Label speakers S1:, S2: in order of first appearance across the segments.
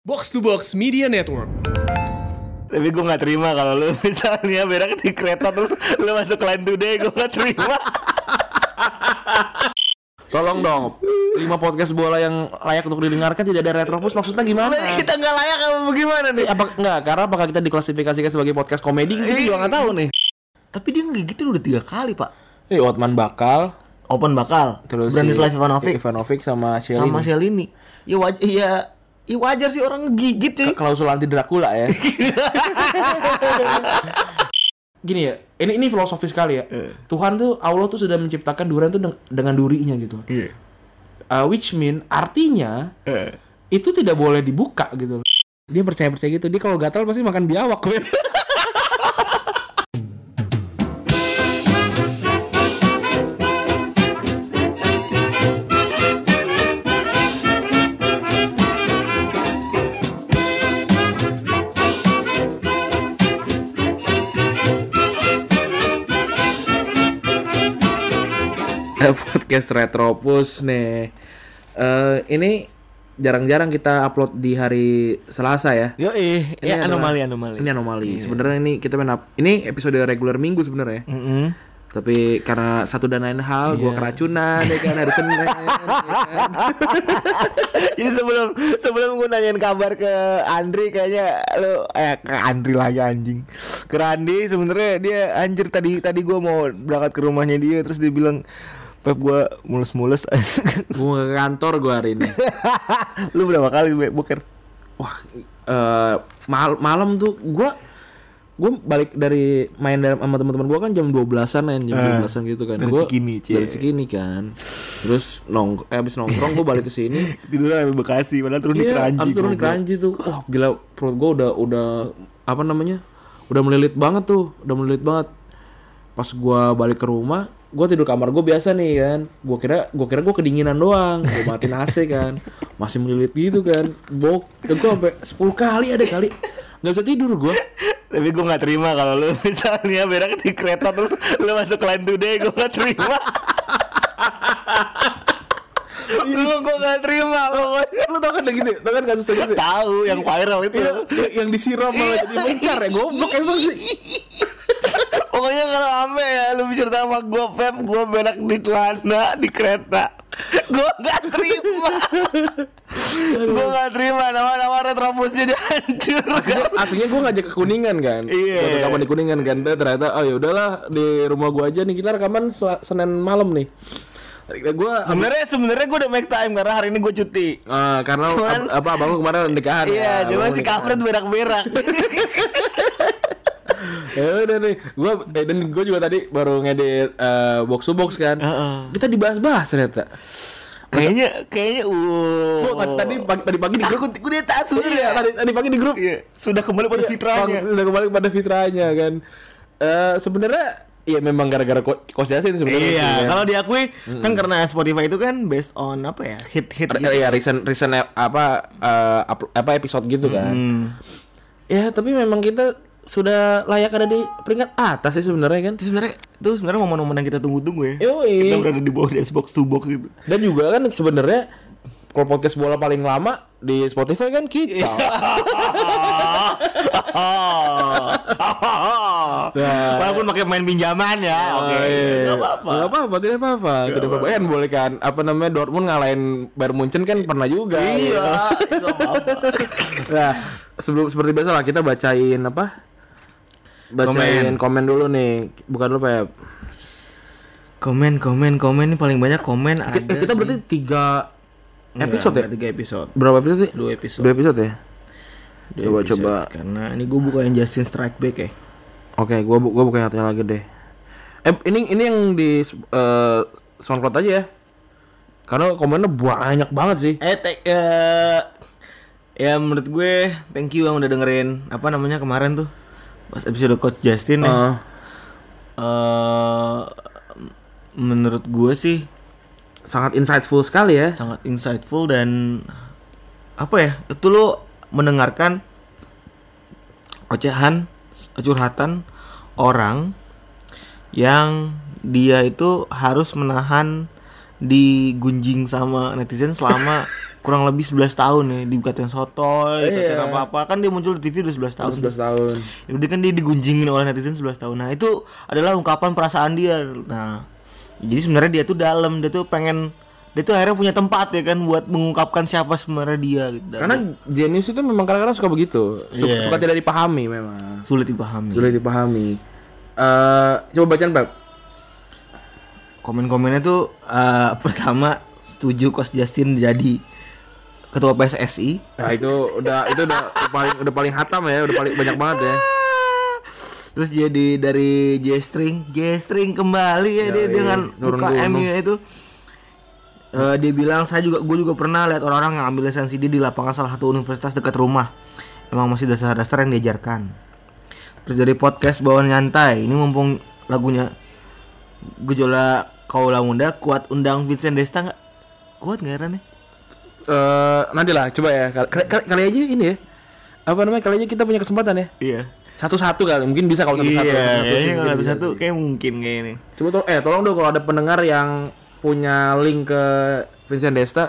S1: Box to Box Media Network.
S2: Tapi gue gak terima kalau lu misalnya berak di kereta terus lu masuk line today gue gak terima
S3: Tolong dong, 5 podcast bola yang layak untuk didengarkan tidak ada retropus maksudnya gimana? Eh,
S2: Berarti Nah, kita gak layak apa bagaimana nih?
S3: Apa enggak? Karena apakah kita diklasifikasikan sebagai podcast komedi
S2: Eh.
S3: kita juga nggak tahu nih.
S2: Tapi dia kayak gitu udah tiga kali pak
S3: Eh, Otman bakal
S2: Open bakal
S3: terus
S2: Branislav Ivanovic
S3: Ivanovic sama Shelly.
S2: sama Shelini Ya wajar, ya, ya wajar sih orang ngegigit cuy
S3: klausul anti Dracula ya. Gini ya, ini ini filosofis sekali ya. Tuhan tuh Allah tuh sudah menciptakan durian tuh deng- dengan durinya gitu.
S2: Iya
S3: Uh, which mean artinya itu tidak boleh dibuka gitu loh. Dia percaya percaya gitu. Dia kalau gatal pasti makan biawak. weh. Eh, podcast Retropus nih. Eh ini jarang-jarang kita upload di hari Selasa ya.
S2: Yo eh,
S3: Ini
S2: ya
S3: adalah-
S2: anomali anomali. Iya.
S3: Ini anomali. Iya. Sebenarnya ini kita main up- ini episode reguler minggu sebenarnya.
S2: Mm-mm.
S3: Tapi karena satu dan lain hal, gua keracunan ya kan hari Senin.
S2: Jadi sebelum sebelum gue nanyain kabar ke Andri kayaknya lu eh ke Andri lagi anjing. Ke Randi sebenarnya dia anjir tadi tadi gue mau berangkat ke rumahnya dia terus dia bilang Pep gue mulus-mulus
S3: gua ke kantor gua hari ini.
S2: Lu berapa kali Be- boker?
S3: Wah, eh mal- malam tuh gua gua balik dari main dalam sama teman-teman gua kan jam 12-an ya, jam 12-an gitu kan.
S2: Ah, dari
S3: gua
S2: Cikini, Cie.
S3: dari Cikini kan. Terus nong eh, habis nongkrong gua balik ke sini.
S2: Tidur sampai Bekasi padahal turun di
S3: Iya,
S2: Keranji
S3: abis turun di
S2: goblok.
S3: keranji tuh. Wah, gila perut gua udah udah apa namanya? Udah melilit banget tuh, udah melilit banget. Pas gua balik ke rumah, gua tidur kamar gua biasa nih kan. Gua kira gua kira gua kedinginan doang, gua matiin AC kan. Masih melilit gitu kan. Bok, dan gua sampai 10 kali ada kali. Gak bisa tidur gua.
S2: Tapi gue gak terima kalau lu misalnya berak di kereta terus lu masuk line today gue gak terima
S3: Iya,
S2: Lu gue gak terima pokoknya
S3: Lu tau kan lagi gitu, tau kan kasus gitu.
S2: Tahu yang viral itu
S3: Iya, yang disiram malah jadi mencar ya goblok emang sih.
S2: Pokoknya kalau ame ya lu bicara sama gue Pep, gue berak di celana di kereta. Gue gak terima. gue gak terima nama-nama retrobus jadi hancur.
S3: aslinya gue ngajak ke kuningan kan
S2: Iya.
S3: Waktu rekaman di kuningan kan Dan ternyata oh ya udahlah di rumah gue aja nih kita rekaman Sel- senin malam nih gue
S2: Sebenarnya sebenarnya gue udah make time karena hari ini gue cuti.
S3: Ah, karena
S2: Cuman-
S3: ab- apa abang lu kemarin nikahan kan?
S2: Iya,
S3: abang
S2: cuma
S3: lu
S2: si
S3: nikahan.
S2: kampret berak-berak.
S3: ya udah nih gue dan gue juga tadi baru ngedit eh, box to box kan
S2: Heeh.
S3: kita dibahas-bahas ternyata
S2: kayaknya kayaknya uh.
S3: Gua tadi pagi, tadi pagi di grup
S2: aku gue dia tak
S3: Iya,
S2: sebenarnya.
S3: tadi, tadi pagi di grup
S2: Iya, sudah kembali pada fitrahnya.
S3: Bang, Sudah kembali pada fitrahnya kan Eh sebenarnya ya memang gara-gara ko kos Yasin sebenarnya
S2: Iya,
S3: sih, kan.
S2: kalau diakui kan karena Spotify itu kan based on apa ya? Hit-hit gitu.
S3: ya recent recent ep- apa eh, up- apa episode
S2: Hmm.
S3: gitu kan ya tapi memang kita sudah layak ada di peringkat atas sih sebenarnya kan
S2: itu sebenarnya itu sebenarnya momen-momen yang kita tunggu-tunggu ya. Kita
S3: Yoi.
S2: berada di bawah dari box to box gitu.
S3: dan juga kan sebenarnya kalau podcast bola paling lama di Spotify kan
S2: Iya,
S3: kita
S2: Nah. Walaupun pakai main pinjaman ya, oke. Nggak apa-apa.
S3: Gak Ah, iya. apa-apa, tidak apa-apa. Tidak apa-apa. Eh, boleh kan apa namanya Dortmund ngalahin Bayern Munchen kan pernah juga. gitu.
S2: Iya, nggak apa-apa.
S3: Nah, sebelum seperti biasa lah kita bacain apa? Bacain komen, dulu nih. Bukan dulu Pep.
S2: Komen, komen, komen ini paling banyak komen ada.
S3: Eh, kita berarti tiga episode ya?
S2: Nggak, tiga episode,
S3: Berapa episode sih?
S2: dua episode.
S3: Dua episode ya? coba coba.
S2: Karena ini gue bukain Justin Strike Back ya.
S3: Oke, gua bu- gua buka yang satunya lagi deh. Eh, ini ini yang di eh, SoundCloud aja ya. Karena komennya banyak banget sih.
S2: Eh, te- eh, ya menurut gue thank you yang udah dengerin apa namanya kemarin tuh pas episode coach Justin ya.
S3: Heeh.
S2: eh menurut gue sih
S3: sangat insightful sekali ya.
S2: sangat insightful dan apa ya itu lo mendengarkan ocehan curhatan orang yang dia itu harus menahan digunjing sama netizen selama kurang lebih 11 tahun ya dikatain sotoy, dikatain
S3: Iya.
S2: apa-apa. Kan dia muncul di TV udah 11 tahun.
S3: Tahun 11 tahun.
S2: Ya, dia kan dia digunjingin oleh netizen 11 tahun. Nah, itu adalah ungkapan perasaan dia. Nah, jadi sebenarnya dia tuh dalam, dia tuh pengen dia tuh akhirnya punya tempat ya kan buat mengungkapkan siapa sebenarnya dia gitu. Dan
S3: Karena jenius itu memang kadang-kadang suka begitu. Su-
S2: Iya.
S3: Suka tidak dipahami memang.
S2: sulit dipahami.
S3: Sulit dipahami. Eh, coba bacaan Bab.
S2: Komen-komennya tuh eh, pertama setuju Coach Justin jadi ketua PSSI.
S3: Nah, itu udah itu udah paling udah paling hatam ya, udah paling banyak banget ya.
S2: Terus jadi dari J-String, J-String kembali ya,
S3: Ya,
S2: dia
S3: iya,
S2: dengan
S3: turun
S2: buka
S3: gunung.
S2: MU itu. Eh, dia bilang saya juga gue juga pernah lihat orang-orang yang ambil lisensi dia di lapangan salah satu universitas dekat rumah. Emang masih dasar-dasar yang diajarkan. Terus dari podcast bawaan nyantai, ini mumpung lagunya gejolak kaula muda kuat undang Vincent Desta nggak? Kuat nggak Ran, ya?
S3: Eh, nanti lah coba ya. Kali, kali, kali aja ini ya. Apa namanya? Kali aja kita punya kesempatan ya.
S2: Iya.
S3: Satu-satu kali mungkin bisa kalau
S2: Iya,
S3: satu-satu. Satu-satu
S2: kayaknya
S3: mungkin
S2: kalau
S3: bisa.
S2: satu kayak mungkin kayak ini.
S3: Coba tolong eh tolong dong kalau ada pendengar yang punya link ke Vincent Desta,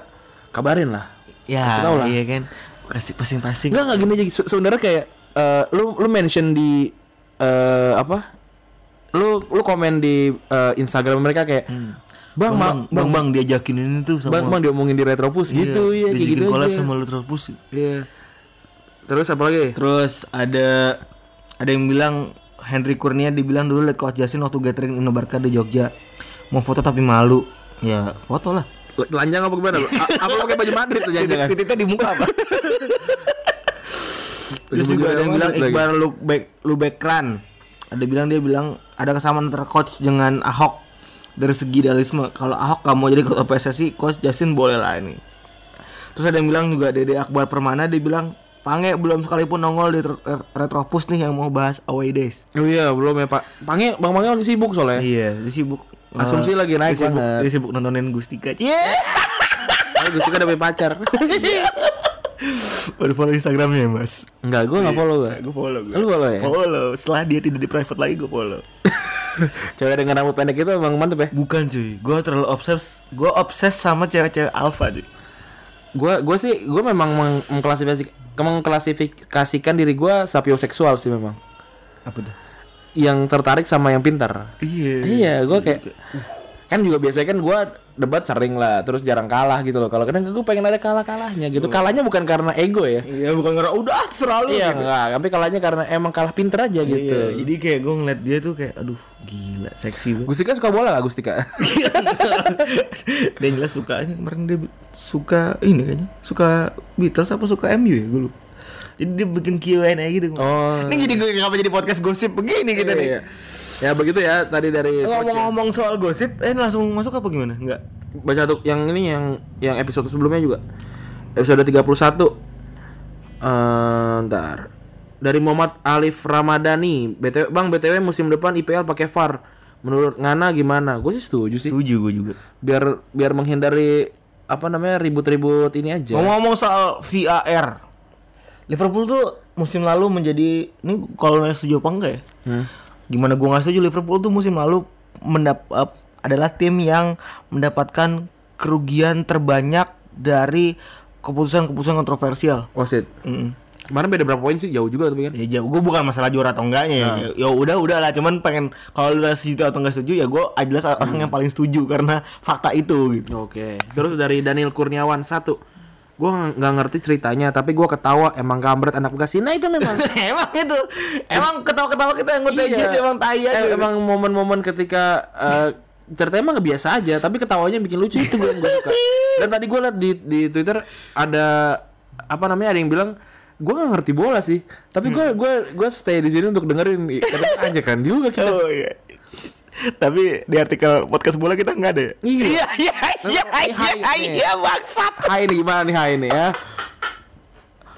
S3: kabarin lah.
S2: Ya,
S3: Kasih tahu lah.
S2: iya kan. Kasih pasing-pasing.
S3: Enggak enggak gini aja se- sebenarnya kayak eh, lu lu mention di eh, apa? Lu lu komen di eh, Instagram mereka kayak Bang,
S2: Hmm. bang, bang,
S3: ma-
S2: bang, bang, diajakin ini tuh sama Iya,
S3: Bang, bang diomongin di Retropus gitu ya kayak
S2: diajakin
S3: gitu
S2: collab
S3: aja.
S2: sama lu terus push.
S3: Iya. Terus apa lagi?
S2: Terus ada ada yang bilang Henry Kurnia dibilang dulu liat Coach Justin waktu gathering Uno Barca di Jogja. Mau foto tapi malu. Ya, foto lah.
S3: Telanjang apa gimana? lu? A- apa lu pakai baju Madrid telanjang jangan?
S2: Titiknya di muka apa? Terus juga ada yang bilang Iqbal lu back lu backran. Ada bilang dia bilang ada kesamaan antara coach dengan Ahok dari segi idealisme. Kalau Ahok kamu mau jadi ketua PSSI, coach Justin boleh lah ini. Terus ada yang bilang juga Dede Akbar Permana dia bilang Pange belum sekalipun nongol di Re- Re- Retropus nih yang mau bahas away days.
S3: Oh iya, belum ya, Pak. Pange, Bang Pange lagi sibuk soalnya.
S2: Iya, dia sibuk.
S3: Eh. Asumsi
S2: eh,
S3: lagi naik
S2: dia sibuk,
S3: banget.
S2: dia sibuk nontonin Gustika. Yeah!
S3: Oh, gue suka ada punya pacar. Iya.
S2: Baru follow Instagramnya mas.
S3: Enggak, gue enggak follow gue.
S2: Gue follow.
S3: Lu follow ya?
S2: Follow. Setelah dia tidak di private lagi gue follow.
S3: Cewek dengan rambut pendek itu emang mantep ya.
S2: Bukan cuy, gue terlalu obses, gue obses sama cewek-cewek alpha cuy.
S3: Gue gue sih gue memang meng- mengklasifikasi mengklasifikasikan diri gue sapioseksual sih memang.
S2: Apa tuh?
S3: Yang tertarik sama yang pintar.
S2: Iya.
S3: Iya, gue kayak kan juga biasanya kan gue debat sering lah, terus jarang kalah gitu loh. Kalau kadang gue pengen ada kalah-kalahnya gitu. Kalahnya bukan karena ego ya.
S2: Iya bukan karena udah selalu.
S3: Iya enggak, tapi kalahnya karena emang kalah pinter aja
S2: Iya.
S3: gitu.
S2: Jadi kayak gue ngeliat dia tuh kayak, aduh gila, seksi banget.
S3: Gustika suka bola gak Gustika?
S2: dia jelas suka ini kemarin dia bi- suka ini kayaknya, suka Beatles apa suka MU ya gue lupa. Jadi dia bikin Q&A gitu.
S3: Oh.
S2: Ini jadi gue kenapa jadi podcast gosip begini kita nih.
S3: Iya. Ya begitu ya tadi dari
S2: Ngomong-ngomong soal gosip, eh langsung masuk apa gimana? Enggak.
S3: baca tuh yang ini yang yang episode sebelumnya juga episode 31 eh ntar dari Muhammad Alif Ramadhani BTW Bang BTW musim depan IPL pakai VAR menurut Ngana gimana gue sih setuju sih
S2: Setuju gue juga.
S3: biar biar menghindari apa namanya ribut-ribut ini aja
S2: Ngomong-ngomong soal VAR. Liverpool tuh musim lalu menjadi ini kalau nanya setuju apa enggak ya?
S3: Hmm.
S2: Gimana gua nggak setuju Liverpool tuh musim lalu mendap ap- adalah tim yang mendapatkan kerugian terbanyak dari keputusan-keputusan kontroversial.
S3: wasit
S2: Mm.
S3: kemarin beda berapa poin sih jauh juga tapi kan
S2: Ya jauh gue bukan masalah juara atau enggaknya ya. Ya udah udah lah cuman pengen kalau lu setuju atau enggak setuju ya gue jelas orang yang paling setuju karena fakta itu gitu.
S3: Oke. Terus dari Daniel Kurniawan satu. Gua nggak ngerti ceritanya, tapi gua ketawa emang kampret anak Bekasi. Nah itu memang.
S2: emang itu emang ketawa-ketawa kita yang
S3: Iya.
S2: ngutajis emang tai aja. Oh,
S3: Eh, emang momen-momen ketika eh, ceritanya emang biasa aja, tapi ketawanya bikin lucu itu gua, gua suka. Dan tadi gua liat di di Twitter ada apa namanya ada yang bilang gua nggak ngerti bola sih, tapi
S2: Hmm.
S3: gua gua gua stay di sini untuk dengerin Kadang aja kan juga kita.
S2: Oh iya. Tapi di artikel podcast bola kita nggak ada. ya?
S3: Iya.
S2: iya iya
S3: Hai, hai, hai.
S2: maksud.
S3: Hai ini gimana nih hai ini ya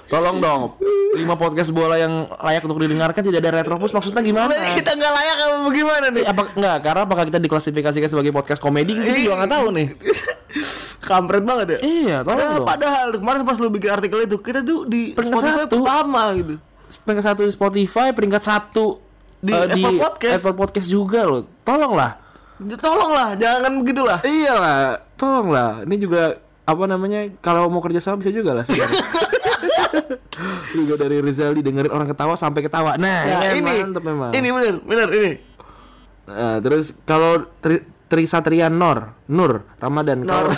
S3: Tolong dong 5 podcast bola yang layak untuk didengarkan tidak ada retropus maksudnya gimana?
S2: Kita nggak layak Nah. apa bagaimana nih?
S3: Eh, apa enggak karena apakah kita diklasifikasikan sebagai podcast komedi kita juga nggak tahu nih.
S2: Kampret banget ya.
S3: Iya, tolong
S2: Padahal,
S3: dong.
S2: padahal kemarin pas lu bikin artikel itu kita tuh di
S3: Peringkat
S2: Spotify
S3: satu.
S2: pertama gitu.
S3: Peringkat satu di Spotify, peringkat satu
S2: Di
S3: eh,
S2: Apple Podcast.
S3: Apple Podcast juga loh. Tolonglah.
S2: Tolonglah Ya, jangan begitulah.
S3: Iyalah, tolonglah. Ini juga apa namanya kalau mau kerja sama bisa juga lah sebenarnya. juga dari Rizaldi dengerin orang ketawa sampai ketawa. Nah,
S2: Nah,
S3: ini
S2: ini,
S3: mantep memang.
S2: ini bener, bener ini.
S3: Nah, terus kalau Tri, Trisatria Nur, Nur Ramadan kalau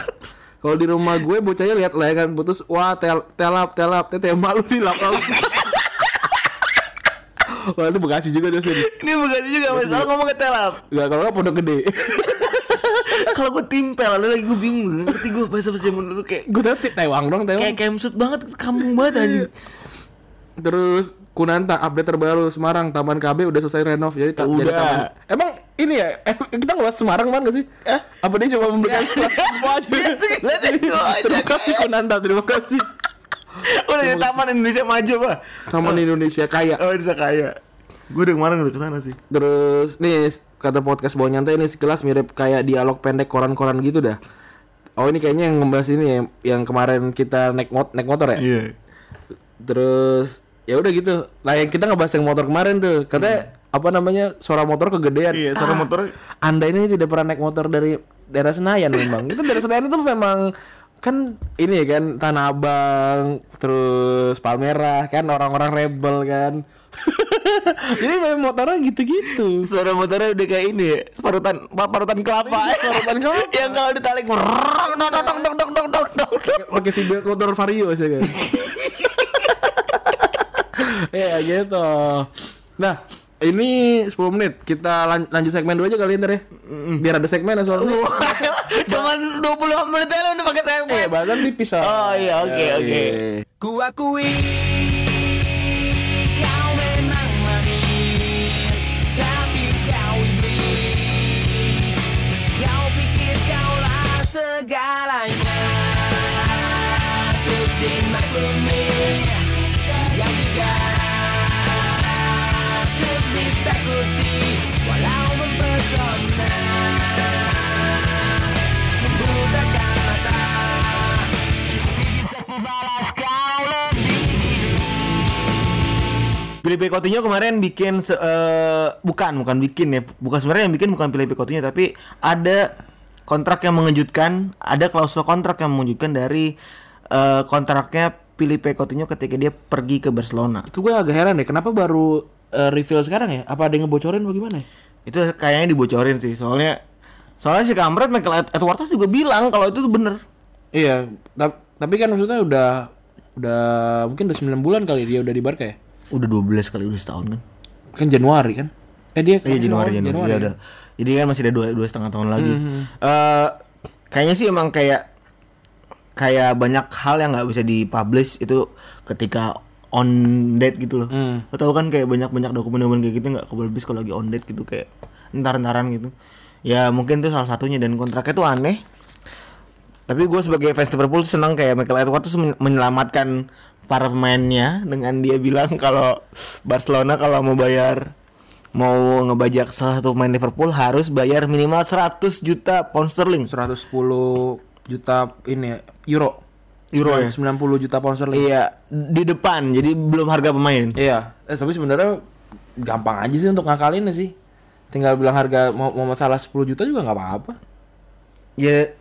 S3: kalau di rumah gue bocahnya lihat layangan putus, wah tel telap telap tete malu di lapang. wah itu Bekasi juga dia sini.
S2: Ini bukan juga masalah ngomong ke telap.
S3: Gak kalau nggak pondok gede.
S2: Kalau gue timpel, lalu lagi gue bingung, nggak ngerti gue bahasa bahasa zaman dulu kayak
S3: gue tapi tewang dong tewang.
S2: kayak kemsut banget, kampung banget anjing.
S3: Terus Kunanta update terbaru Semarang Taman KB udah selesai renov jadi ta-
S2: Udah.
S3: jadi taman. Emang ini ya em- kita ngebahas Semarang man gak sih? Eh? Iya Apa dia cuma memberikan sekelas info aja? Iya
S2: Let's go aja.
S3: Terima kasih Kunanta, terima kasih.
S2: Udah di Taman Indonesia Maju pak.
S3: Taman Indonesia kaya.
S2: Oh bisa kaya. Gue udah kemarin udah kesana sih.
S3: Terus nih kata podcast bawah nyantai ini sekilas mirip kayak dialog pendek koran-koran gitu dah. Oh ini kayaknya yang ngebahas ini ya, yang kemarin kita naik mot naik motor ya.
S2: Iya.
S3: Terus ya udah gitu. Nah yang kita ngebahas yang motor kemarin tuh katanya apa namanya suara motor kegedean.
S2: Hmm. Iya, suara
S3: Ah,
S2: motor-
S3: Anda ini tidak pernah naik motor dari daerah Senayan memang. itu daerah Senayan itu memang kan ini ya kan Tanah Abang terus Palmerah kan orang-orang rebel kan. Jadi memang motornya gitu-gitu.
S2: Suara motornya udah kayak ini ya, parutan pa- parutan kelapa.
S3: parutan kelapa.
S2: Yang kalau ditarik merang, dong dong dong dong dong dong dong. dong.
S3: Pakai si belt motor Vario sih kan. ya gitu. Nah, ini 10 menit. Kita lan- lanjut segmen dulu aja kali ini ntar ya. Biar ada segmen ya, soalnya.
S2: Wah, Cuman 20 menit aja lu udah pakai
S3: Eh,
S2: selfie.
S3: bahkan tipis soalnya.
S2: Oh iya oke
S3: Iya.
S2: oke.
S4: Ku akui Kau memang manis Tapi kau iblis Kau pikir kaulah segalanya Cukup maklumi Yang juga Cukup ditakuti Walau mempesona Membutakan mata Balas kau lebih
S2: Felipe Coutinho kemarin bikin se- eh, bukan bukan bikin ya bukan sebenarnya yang bikin bukan Felipe Coutinho tapi ada kontrak yang mengejutkan ada klausul kontrak yang mengejutkan dari eh, kontraknya Felipe Coutinho ketika dia pergi ke Barcelona
S3: Itu gue agak heran deh, kenapa baru eh, reveal sekarang ya? Apa ada yang ngebocorin apa gimana? ya?
S2: itu kayaknya dibocorin sih soalnya soalnya si Kamret Michael Ed- Edwards juga bilang kalau itu tuh bener
S3: Iya, tap- tapi kan maksudnya udah udah mungkin udah 9 bulan kali dia udah di Barca ya.
S2: udah 12 kali udah setahun kan
S3: Kan Januari kan? Eh dia
S2: Iya Januari
S3: awal
S2: Januari, iya, udah. Jadi kan masih ada dua dua setengah tahun lagi. Eh, kayaknya sih emang kayak kayak banyak hal yang nggak bisa dipublish itu ketika on date gitu loh.
S3: Hmm.
S2: Lo tau kan kayak banyak banyak dokumen-dokumen kayak gitu nggak kepublish kalau lagi on date gitu kayak entar-entaran gitu. Ya mungkin itu salah satunya dan kontraknya tuh aneh. Tapi gue sebagai fans Liverpool tuh senang kayak Michael Edwards tuh men- menyelamatkan para pemainnya dengan dia bilang kalau Barcelona kalau mau bayar mau ngebajak salah satu pemain Liverpool harus bayar minimal 100 juta pound sterling.
S3: 110 juta ini ya, euro.
S2: Euro ya?
S3: 90 juta pound sterling.
S2: Iya, di depan. Jadi belum harga pemain.
S3: Iya. Eh, tapi sebenarnya gampang aja sih untuk ngakalinnya sih. Tinggal bilang harga mau, mau masalah 10 juta juga nggak apa-apa.
S2: Ya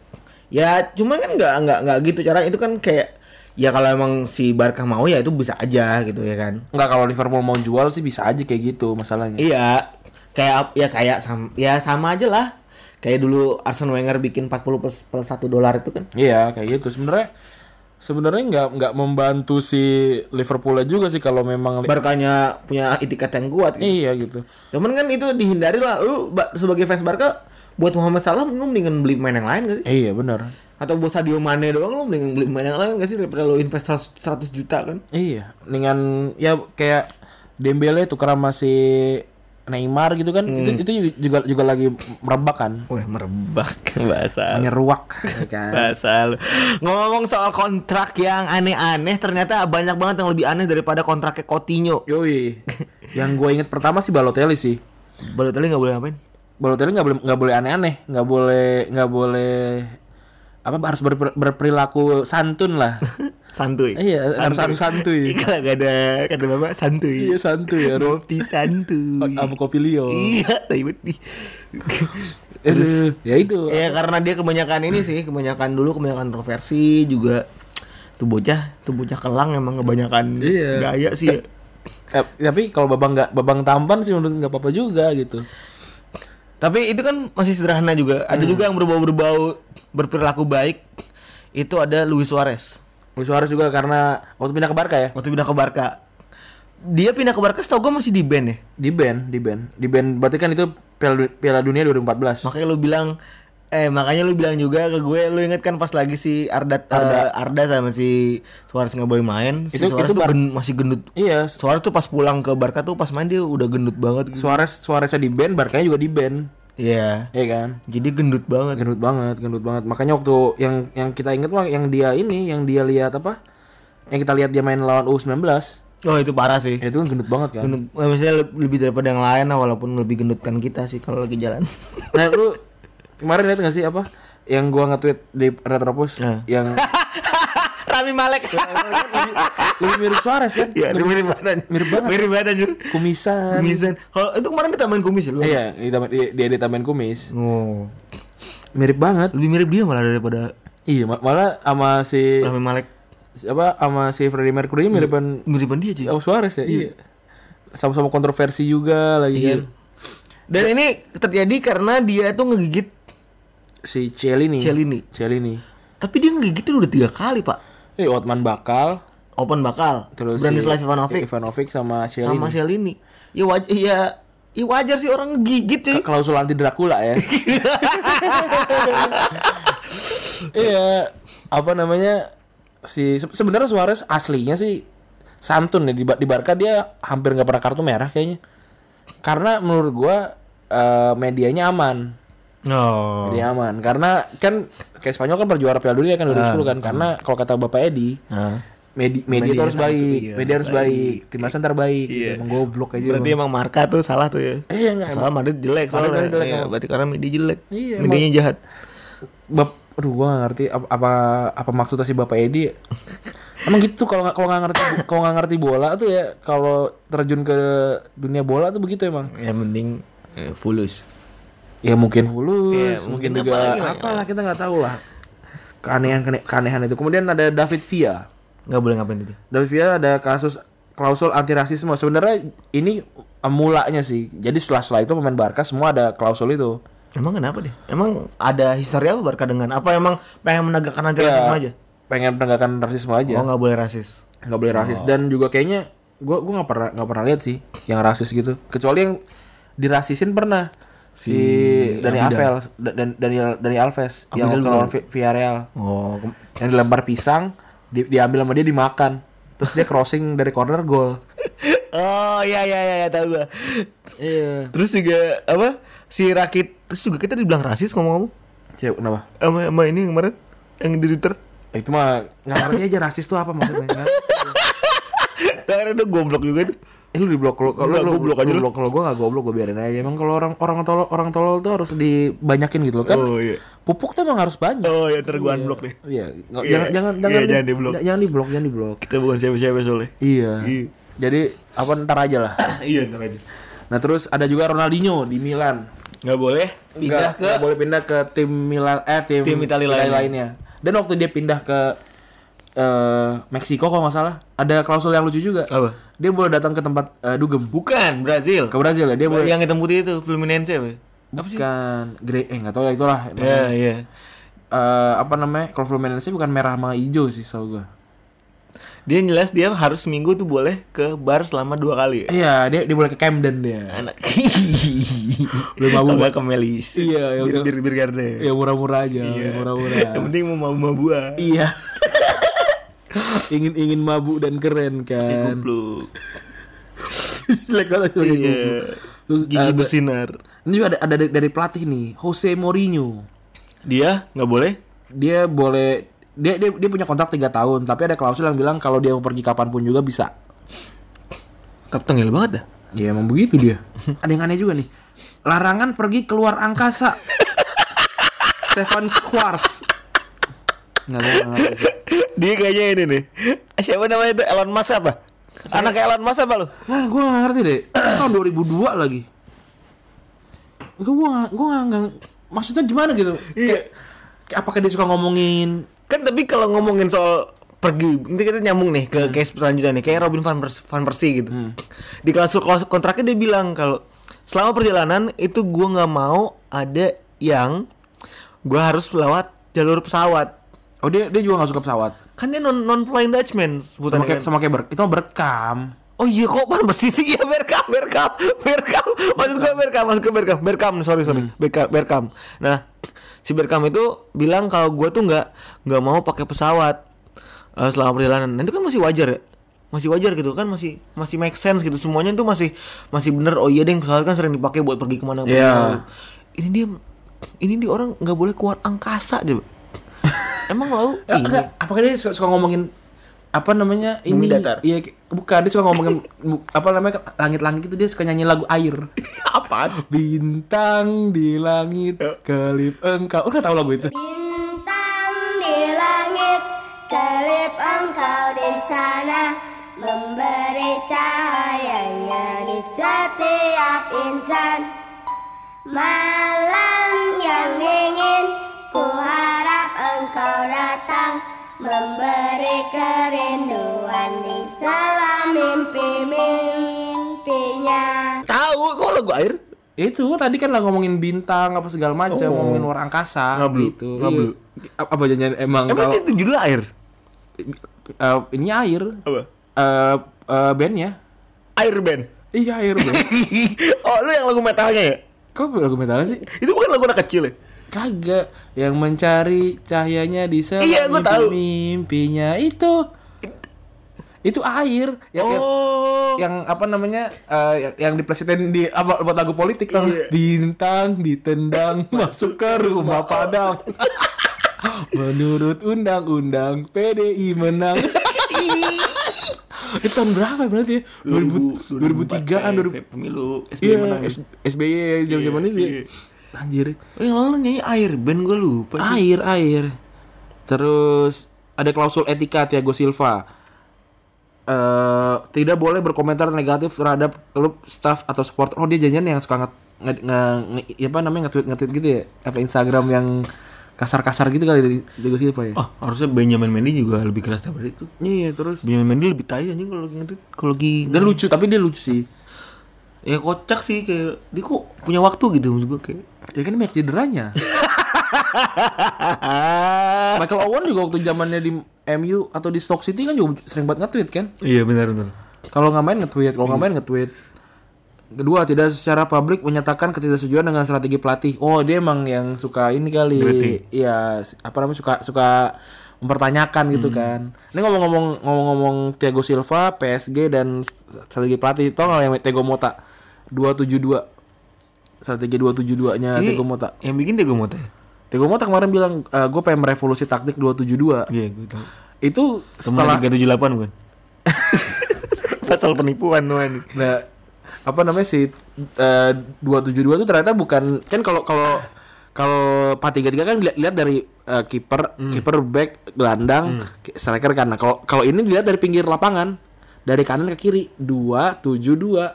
S2: ya cuman kan nggak nggak nggak gitu cara itu kan kayak ya kalau emang si Barca mau ya itu bisa aja gitu ya kan.
S3: Nggak kalau Liverpool mau jual sih bisa aja kayak gitu masalahnya.
S2: Iya, kayak ap- ya kayak sam, ya sama aja lah. Kayak dulu Arsene Wenger bikin 40 plus, plus 1 dolar itu kan.
S3: Iya, kayak gitu. Sebenarnya sebenarnya nggak nggak membantu si Liverpool juga sih kalau memang li-
S2: Barkanya punya itikat yang kuat gitu.
S3: Iya gitu.
S2: Cuman kan itu dihindari lah. Lu ba- sebagai fans Barca buat Muhammad Salah lu mendingan beli pemain yang lain gak sih?
S3: Iya benar.
S2: Atau buat Sadio Mane doang lu mendingan beli pemain yang lain gak sih daripada lu invest 100 juta kan?
S3: Iya, dengan ya kayak Dembele tuker sama si Neymar gitu kan. Itu itu juga juga lagi merebak kan.
S2: Wah merebak bahasa
S3: Menyeruak ya kan.
S2: Bahasa lu. Ngomong soal kontrak yang aneh-aneh ternyata banyak banget yang lebih aneh daripada kontraknya Coutinho.
S3: Yoi. Yang gue inget pertama sih Balotelli sih.
S2: Balotelli nggak boleh ngapain?
S3: Balotelli nggak boleh nggak boleh aneh-aneh, nggak boleh nggak boleh apa harus berper- berperilaku santun lah.
S2: santuy.
S3: Iya, harus- harus santuy.
S2: Kalau nggak ada kata bapak santuy.
S3: iya santuy ya.
S2: Kopi santuy.
S3: Sama Kopilio.
S2: Iya, tai banget nih.
S3: Terus ya itu.
S2: Ya karena dia kebanyakan ini sih, kebanyakan dulu kebanyakan kontroversi juga tuh bocah, tuh bocah kelang emang kebanyakan
S3: Iya.
S2: gaya sih.
S3: Eh, tapi kalau babang nggak babang tampan sih menurut nggak apa-apa juga gitu.
S2: Tapi itu kan masih sederhana juga.
S3: Hmm.
S2: Ada juga yang berbau-berbau berperilaku baik. Itu ada Luis Suarez.
S3: Luis Suarez juga karena waktu pindah ke Barca ya.
S2: Waktu pindah ke Barca. Dia pindah ke Barca setahu gue masih di band ya.
S3: Di band, di band. Di band berarti kan itu Piala, Du- Piala Dunia 2014.
S2: Makanya lu bilang eh makanya lu bilang juga ke gue lu inget kan pas lagi si Arda Arda, Arda sama si Suarez nggak boleh main si
S3: Itu-
S2: Suarez tuh
S3: itu Bar-
S2: gen- masih gendut
S3: Iya,
S2: Suarez tuh pas pulang ke Barca tuh pas main dia udah gendut banget gitu.
S3: Suarez Suareznya di band, Barkanya juga di band.
S2: Iya.
S3: Iya kan?
S2: Jadi gendut banget.
S3: Gendut banget, gendut banget. Makanya waktu yang yang kita inget mah yang dia ini, yang dia lihat apa? Yang kita lihat dia main lawan U19,
S2: Oh itu parah sih.
S3: ya itu kan gendut banget kan.
S2: Gendut, eh, maksudnya le- lebih daripada yang lain lah, walaupun lebih gendutan kita sih kalau lagi jalan.
S3: Nah, lu kemarin lihat gak sih apa? Yang gua nge-tweet di Retropus
S2: Eh.
S3: yang
S2: Rami Malek.
S3: lebih mirip Suarez kan?
S2: Iya, dia mirip banget.
S3: Mirip banget.
S2: Mirip banget anjir.
S3: Kumisan.
S2: Kumisan. Kalau itu kemarin ditambahin kumis ya lu.
S3: Eh, Iya, ditambah- dia, dia ditambahin kumis.
S2: Oh.
S3: Mirip banget.
S2: Lebih mirip dia malah daripada
S3: Iya, ma- malah sama si
S2: Rami Malek.
S3: apa sama si Freddie Mercury miripan
S2: Miripan dia cuy.
S3: Oh Suarez ya? Iya. Sama-sama kontroversi juga lagi kan.
S2: Dan ini terjadi karena dia tuh ngegigit.
S3: Si Cielini.
S2: Chiellini.
S3: Cielini.
S2: Tapi dia ngegigit tuh udah tiga kali, Pak.
S3: Eh Otman Bakal,
S2: Open bakal.
S3: terus
S2: Branislav
S3: si
S2: Ivanovic.
S3: Ivanovic sama Cielini.
S2: sama Shelly nih. Ya wajar, ya, ya wajar sih orang ngegigit cuy.
S3: Klausul anti Dracula ya. iya, apa namanya? Si se- sebenarnya Suarez aslinya sih santun ya di, Ba- di Barca dia hampir nggak pernah kartu merah kayaknya. Karena menurut gua eh, medianya aman.
S2: Oh.
S3: Jadi aman karena kan kayak Spanyol kan perjuara Piala Dunia kan 2010 kan karena kalau kata Bapak Edi medi- media,
S2: Ah, Media
S3: itu harus
S2: satu,
S3: baik,
S2: iya,
S3: media harus baik, timnas terbaik,
S2: Iya.
S3: emang goblok aja.
S2: Berarti
S3: emang.
S2: emang marka tuh salah tuh ya.
S3: Eh, enggak,
S2: Salah Madrid jelek
S3: Madrid
S2: soalnya.
S3: jelek,
S2: Iya,
S3: emang.
S2: berarti karena media jelek.
S3: Iya,
S2: Medianya jahat.
S3: Bap, aduh gua gak ngerti apa apa, apa maksudnya si Bapak Edi. Emang gitu kalau nggak kalau nggak ngerti kalau nggak ngerti bola tuh ya kalau terjun ke dunia bola tuh begitu emang.
S2: Ya, Yang penting eh, fulus.
S3: Ya mungkin fulus,
S2: Iya, mungkin
S3: mungkin, juga
S2: apalagi ya. lah.
S3: apalah kita nggak tahu lah. Keanehan keanehan itu. Kemudian ada David Villa.
S2: Enggak boleh ngapain tadi.
S3: David Villa ada kasus klausul anti rasisme. Sebenarnya ini mulanya sih. Jadi setelah setelah itu pemain Barca semua ada klausul itu.
S2: Emang kenapa deh? Emang ada histori apa Barca dengan apa emang pengen menegakkan anti rasisme aja?
S3: Ya, Pengen penegakan rasisme
S2: Oh,
S3: aja.
S2: nggak Oh. boleh rasis.
S3: nggak boleh rasis dan juga kayaknya gua gua nggak pernah nggak pernah lihat sih yang rasis gitu. Kecuali yang dirasisin pernah si, Dani Alves da- dan Daniel Dani Alves yang waktu lawan Vi- Villarreal
S2: Oh, kem-
S3: yang dilempar pisang di- diambil sama dia dimakan terus dia crossing dari corner gol
S2: oh iya iya iya iya, tahu gua.
S3: iya
S2: Terus juga apa? Si Rakit terus juga kita dibilang rasis ngomong-ngomong.
S3: Cewek kenapa
S2: sama, sama ini yang kemarin yang di Twitter.
S3: Eh, itu mah nggak ngerti aja rasis tuh apa maksudnya ya. nggak-
S2: Karena udah goblok juga tuh.
S3: Eh lu di blok lu kalau
S2: Nggak,
S3: lu
S2: gua blok aja lu.
S3: blok kalau gua enggak goblok gua biarin aja. Emang kalau orang orang tolol orang tolol tuh harus dibanyakin gitu loh kan.
S2: Oh, iya.
S3: Pupuk tuh emang harus banyak.
S2: Oh ya ntar gua unblock deh.
S3: Iya, nggak-
S2: Iya.
S3: jangan jangan
S2: Iya,
S3: jangan
S2: jangan di-block.
S3: j- Jangan di blok, jangan di blok.
S2: Kita bukan siapa-siapa soalnya.
S3: Iya.
S2: Iya.
S3: Jadi apa ntar aja lah.
S2: iya ntar aja.
S3: Nah, terus ada juga Ronaldinho di Milan.
S2: Nggak boleh pindah
S3: Nggak-
S2: ke
S3: nggak boleh pindah ke tim Milan eh tim,
S2: Tim Itali lainnya.
S3: Dan waktu dia pindah ke eh Meksiko kalau nggak salah, ada klausul yang lucu juga.
S2: Apa?
S3: Dia boleh datang ke tempat eh, dugem
S2: bukan Brazil.
S3: ke Brazil Iya, ya. Dia boleh
S2: Yang hitam putih itu Fluminense apa? Apa sih?
S3: Bukan grey eh nggak tahu ya itulah.
S2: Iya iya.
S3: Eh, apa namanya? Kalau Fluminense bukan merah sama hijau sih setahu gua.
S2: Dia yang jelas dia harus seminggu tuh boleh ke bar selama dua kali.
S3: Iya, dia dia boleh ke Camden dia.
S2: Anak.
S3: Belum mabu.
S2: Kalau nggak ke Melis.
S3: Iya, iya,
S2: bir
S3: betul.
S2: bir bir garden.
S3: Ya murah-murah aja,
S2: Iya. Yang
S3: murah-murah.
S2: penting mau mabu-mabu aja.
S3: iya. ingin ingin mabuk dan keren kan.
S2: Goblok.
S3: Jelek banget sebagai
S2: Iya.
S3: guru. Terus
S2: Gigi
S3: ada-
S2: bersinar.
S3: ini juga ada, ada dari- dari pelatih nih, Jose Mourinho.
S2: Dia nggak boleh
S3: Dia boleh dia, dia dia punya kontrak 3 tahun, tapi ada klausul yang bilang kalau dia mau pergi kapanpun juga bisa.
S2: Tapi tengil banget dah.
S3: Ya emang begitu dia. Ada yang aneh juga nih. Larangan pergi keluar angkasa. Stefan Schwarz. Nggak tahu, nggak ngerti sih.
S2: Dia kayaknya ini nih. Eh, Siapa namanya itu? Elon Musk apa? Anak Elon Musk apa lu?
S3: Nah, gue nggak ngerti deh. Tahun 2002 lagi. Gue gua nggak- gua nggak nggak- maksudnya gimana gitu
S2: Iya.
S3: Kayak- kayak apakah dia suka ngomongin
S2: Kan tapi kalau ngomongin soal pergi, nanti kita nyambung nih ke case selanjutnya nih, kayak Robin van, Pers- van Persie gitu. Di klausul klausul kontraknya dia bilang kalau selama perjalanan itu gua nggak mau ada yang gua harus lewat jalur pesawat.
S3: oh dia dia juga nggak suka pesawat
S2: Kan dia non non flying Dutchman
S3: sama
S2: sebutannya.
S3: kayak
S2: kan.
S3: sama kayak ber- itu mah berekam
S2: Oh iya kok Van Persie sih iya Berkam Berkam Berkam maksud gue Berkam maksud gue Berkam Berkam sorry sorry
S3: Hmm.
S2: Berkam, Berkam nah si Berkam itu bilang kalau gue tuh nggak nggak mau pakai pesawat eh, selama perjalanan nah, itu kan masih wajar ya masih wajar gitu kan masih masih make sense gitu semuanya itu masih masih bener oh iya deh pesawat kan sering dipakai buat pergi kemana mana
S3: Iya.
S2: ini dia ini dia orang nggak boleh keluar angkasa aja emang lu ini
S3: Eh, enggak, apakah dia suka, suka ngomongin apa namanya ini
S2: Bumi datar.
S3: iya kayak- bukan dia suka ngomongin bu- apa namanya langit-langit itu dia suka nyanyi lagu air
S2: apaan
S3: bintang di langit kelip engkau udah tahu lagu itu
S5: Bintang di langit, kelip engkau di sana Memberi cahayanya di setiap insan Malam yang dingin, ku harap engkau datang Memberi kerinduan di selam mimpi-mimpinya
S2: tahu kok lagu air
S3: itu tadi kan lah ngomongin bintang apa segala macam
S2: Oh.
S3: ngomongin luar angkasa
S2: Ngablu,
S3: gitu
S2: ngablu.
S3: Iya. A- apa janjian emang
S2: emang
S3: kalau
S2: itu judul air
S3: eh, ini air
S2: apa
S3: eh eh, bandnya
S2: Air Band.
S3: iya air band
S2: oh, lu yang lagu metalnya ya?
S3: kok lagu metalnya sih
S2: Itu bukan lagu anak kecil ya?
S3: kagak yang mencari cahayanya di selam
S2: Iya, gua
S3: mimpi-
S2: tahu.
S3: mimpinya itu itu air Ya, yang, yang-
S2: oh.
S3: yang apa namanya eh, yang, yang diplesetin di apa buat lagu politik tau nggak? bintang ditendang masuk ke rumah padang menurut undang-undang PDI menang itu tahun berapa ya berarti ya 2000 2003an 2000
S2: pemilu SBY
S3: iya
S2: menang.
S3: S- SBY zaman-zaman itu ya
S2: iya.
S3: anjir
S2: Oh, yang lalu nyanyi Air Band gue lupa. cuy.
S3: air air terus ada klausul etika Thiago Silva eh tidak boleh berkomentar negatif terhadap klub staff atau supporter oh dia janjian yang suka nge, nge- nge- nge- apa namanya nge-tweet nge-tweet gitu ya apa Instagram yang kasar-kasar gitu kali dari Thiago Silva ya
S2: Oh, harusnya Benjamin Mendy juga lebih keras daripada itu.
S3: iya terus
S2: Benjamin Mendy lebih tai anjing kalau lagi ngetweet, kalau lagi
S3: dia lucu tapi dia lucu sih
S2: ya kocak sih kayak dia kok punya waktu gitu maksud gue kayak.
S3: ya kan banyak cederanya Michael Owen juga waktu zamannya di MU atau di Stoke City kan juga sering banget nge-tweet kan
S2: iya benar benar.
S3: Kalau nggak main nge-tweet, kalau
S2: Iya.
S3: nggak main nge-tweet. Kedua, tidak secara publik menyatakan ketidaksetujuan dengan strategi pelatih. Oh, dia emang yang suka ini kali.
S2: Kritik.
S3: Iya, s- apa namanya suka suka mempertanyakan gitu
S2: Hmm.
S3: kan. Ini ngomong-ngomong ngomong-ngomong Thiago Silva, PSG dan s- strategi pelatih. Tau nggak yang Thiago Mota 272. Strategi 272-nya
S2: Ini
S3: Thiago Mota.
S2: Yang bikin Tego Mota ya?
S3: Thiago Mota kemarin bilang, "Gue pengen merevolusi taktik 272."
S2: Iya, gue tahu.
S3: Itu
S2: Temennya
S3: setelah
S2: 378 bukan? Pasal penipuan tuh anjing.
S3: Nah, apa namanya si dua tujuh dua itu ternyata bukan kan kalau kalau kalau empat tiga tiga kan lihat lihat dari eh, kiper
S2: Hmm.
S3: kiper back gelandang ki- striker kanan. Kalau kalau ini dilihat dari pinggir lapangan dari kanan ke kiri dua tujuh dua.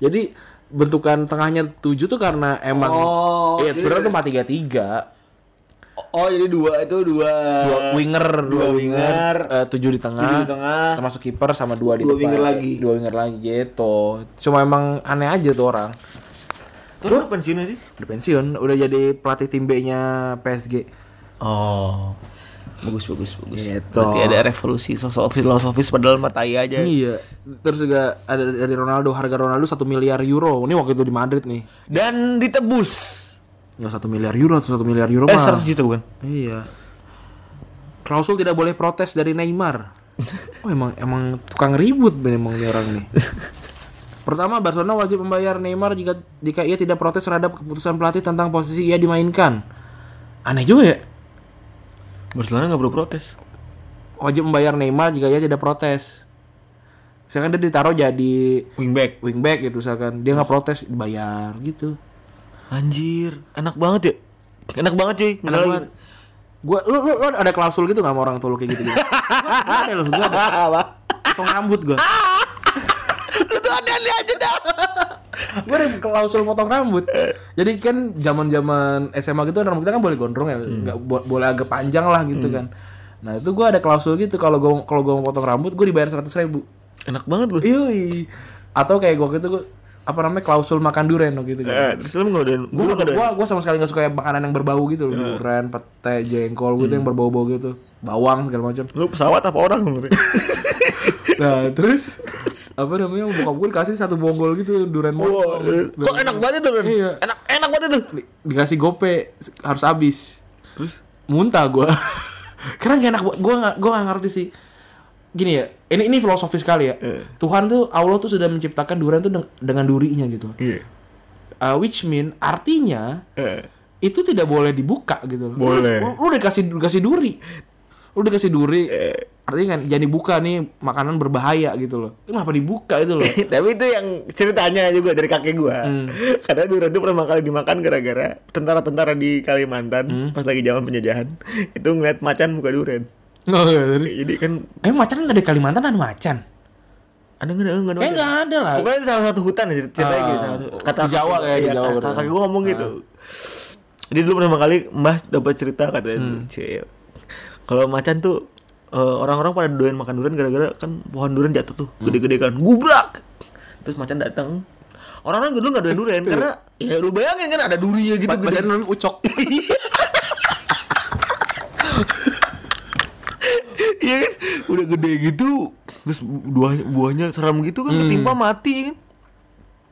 S3: Jadi bentukan tengahnya tujuh tuh karena emang
S2: Oh,
S3: iya
S2: jadi-
S3: sebenarnya tuh empat tiga tiga
S2: Oh jadi dua itu dua
S3: dua winger
S2: Eh, dua
S3: dua, winger
S2: winger,
S3: eh, tujuh di
S2: di
S3: tengah
S2: tengah.
S3: termasuk kiper sama dua di
S2: Dua
S3: depan
S2: winger lagi.
S3: dua winger lagi gitu cuma emang aneh aja tuh orang
S2: Terus lu pensiunnya sih?
S3: udah pensiun udah jadi pelatih tim B nya PSG
S2: Oh bagus bagus bagus.
S3: Gitu.
S2: Berarti ada revolusi sosok office los office padahal matai aja.
S3: iya terus juga ada dari Ronaldo harga Ronaldo satu miliar euro ini waktu itu di Madrid nih
S2: Dan ditebus.
S3: nggak satu miliar euro satu miliar euro
S2: Eh
S3: mah
S2: 100 juta bukan?
S3: iya klausul tidak boleh protes dari Neymar oh emang emang tukang ribut memang nih orang nih Pertama, Barcelona wajib membayar Neymar jika jika ia tidak protes terhadap keputusan pelatih tentang posisi ia dimainkan. Aneh juga ya.
S2: Barcelona nggak perlu protes.
S3: Wajib membayar Neymar jika ia tidak protes. Misalkan dia ditaruh jadi
S2: Wingback.
S3: wingback gitu misalkan. Dia nggak protes, dibayar gitu.
S2: Anjir, enak banget ya. Enak banget cuy. Misalnya
S3: Misalkan gua lu, lu, lu ada klausul gitu nggak sama orang tua lu kayak gitu? gitu? Gua ada loh, gua ada. Potong rambut gua.
S2: lu tuh ada aja dah.
S3: gue ada klausul potong rambut jadi kan zaman zaman SMA gitu kan rambut kita kan boleh gondrong ya nggak bo- boleh agak panjang lah gitu kan nah itu gue ada klausul gitu kalau gue kalau gue mau potong rambut gue dibayar seratus ribu
S2: Enak banget lu.
S3: Yoi. atau kayak gue gitu gue apa namanya klausul makan durian gitu kan
S2: Eh, terus lu ngodain
S3: gue
S2: gua Eh. ngodain.
S3: gua, gua sama sekali gak suka makanan yang berbau gitu loh durian pete jengkol
S2: Hmm.
S3: gitu yang berbau-bau gitu bawang segala macam
S2: Lu pesawat apa orang sebenarnya?
S3: nah terus apa namanya bokap gue dikasih satu bonggol gitu durian
S2: Wah, eh, Kok
S3: montong
S2: enak banget itu, Ren?
S3: Iya.
S2: Enak enak banget itu.
S3: Di- dikasih gope harus habis
S2: Terus
S3: muntah gue karena gak enak gue gak gue gak ngerti sih gini ya ini ini filosofis sekali ya
S2: Eh.
S3: Tuhan tuh Allah tuh sudah menciptakan durian tuh deng- dengan durinya gitu
S2: iya.
S3: Uh, which mean artinya
S2: Eh,
S3: itu tidak boleh dibuka gitu loh.
S2: Boleh.
S3: Lu, lu udah kasih dikasih duri. Lu udah kasih duri. Artinya kan jangan dibuka nih makanan berbahaya gitu loh. Ini Kenapa dibuka itu loh?
S2: Tapi itu yang ceritanya juga dari kakek gua.
S3: Hmm.
S2: Karena durian itu pertama kali dimakan gara-gara tentara-tentara di Kalimantan
S3: Hmm.
S2: pas lagi zaman penjajahan itu ngeliat macan buka durian.
S3: Nggak, nggak, Oh, iya, tadi.
S2: Jadi kan
S3: Eh macan nggak ada di Kalimantan ada macan?
S2: ada nggak ada nggak
S3: Kayaknya nggak ada lah.
S2: Pokoknya salah satu hutan aja ceritanya
S3: Ah,
S2: gitu. salah satu-
S3: di Jawa kayak di
S2: iya,
S3: Jawa
S2: kakak-
S3: gitu.
S2: Kakak gue ngomong gitu. Jadi dulu pertama kali Mbah dapat cerita katanya,
S3: Hmm.
S2: "Cie, kalau macan tuh eh, orang-orang pada doain makan durian gara-gara kan pohon durian jatuh tuh
S3: Hmm.
S2: gede-gede kan, gubrak. Terus macan datang. Orang-orang dulu nggak doain durian karena ya lu bayangin kan ada durinya gitu gede.
S3: Eh, Badan namanya ucok.
S2: Iya kan udah gede gitu terus buahnya, buahnya seram gitu kan ketimpa mati kan.
S3: Hmm.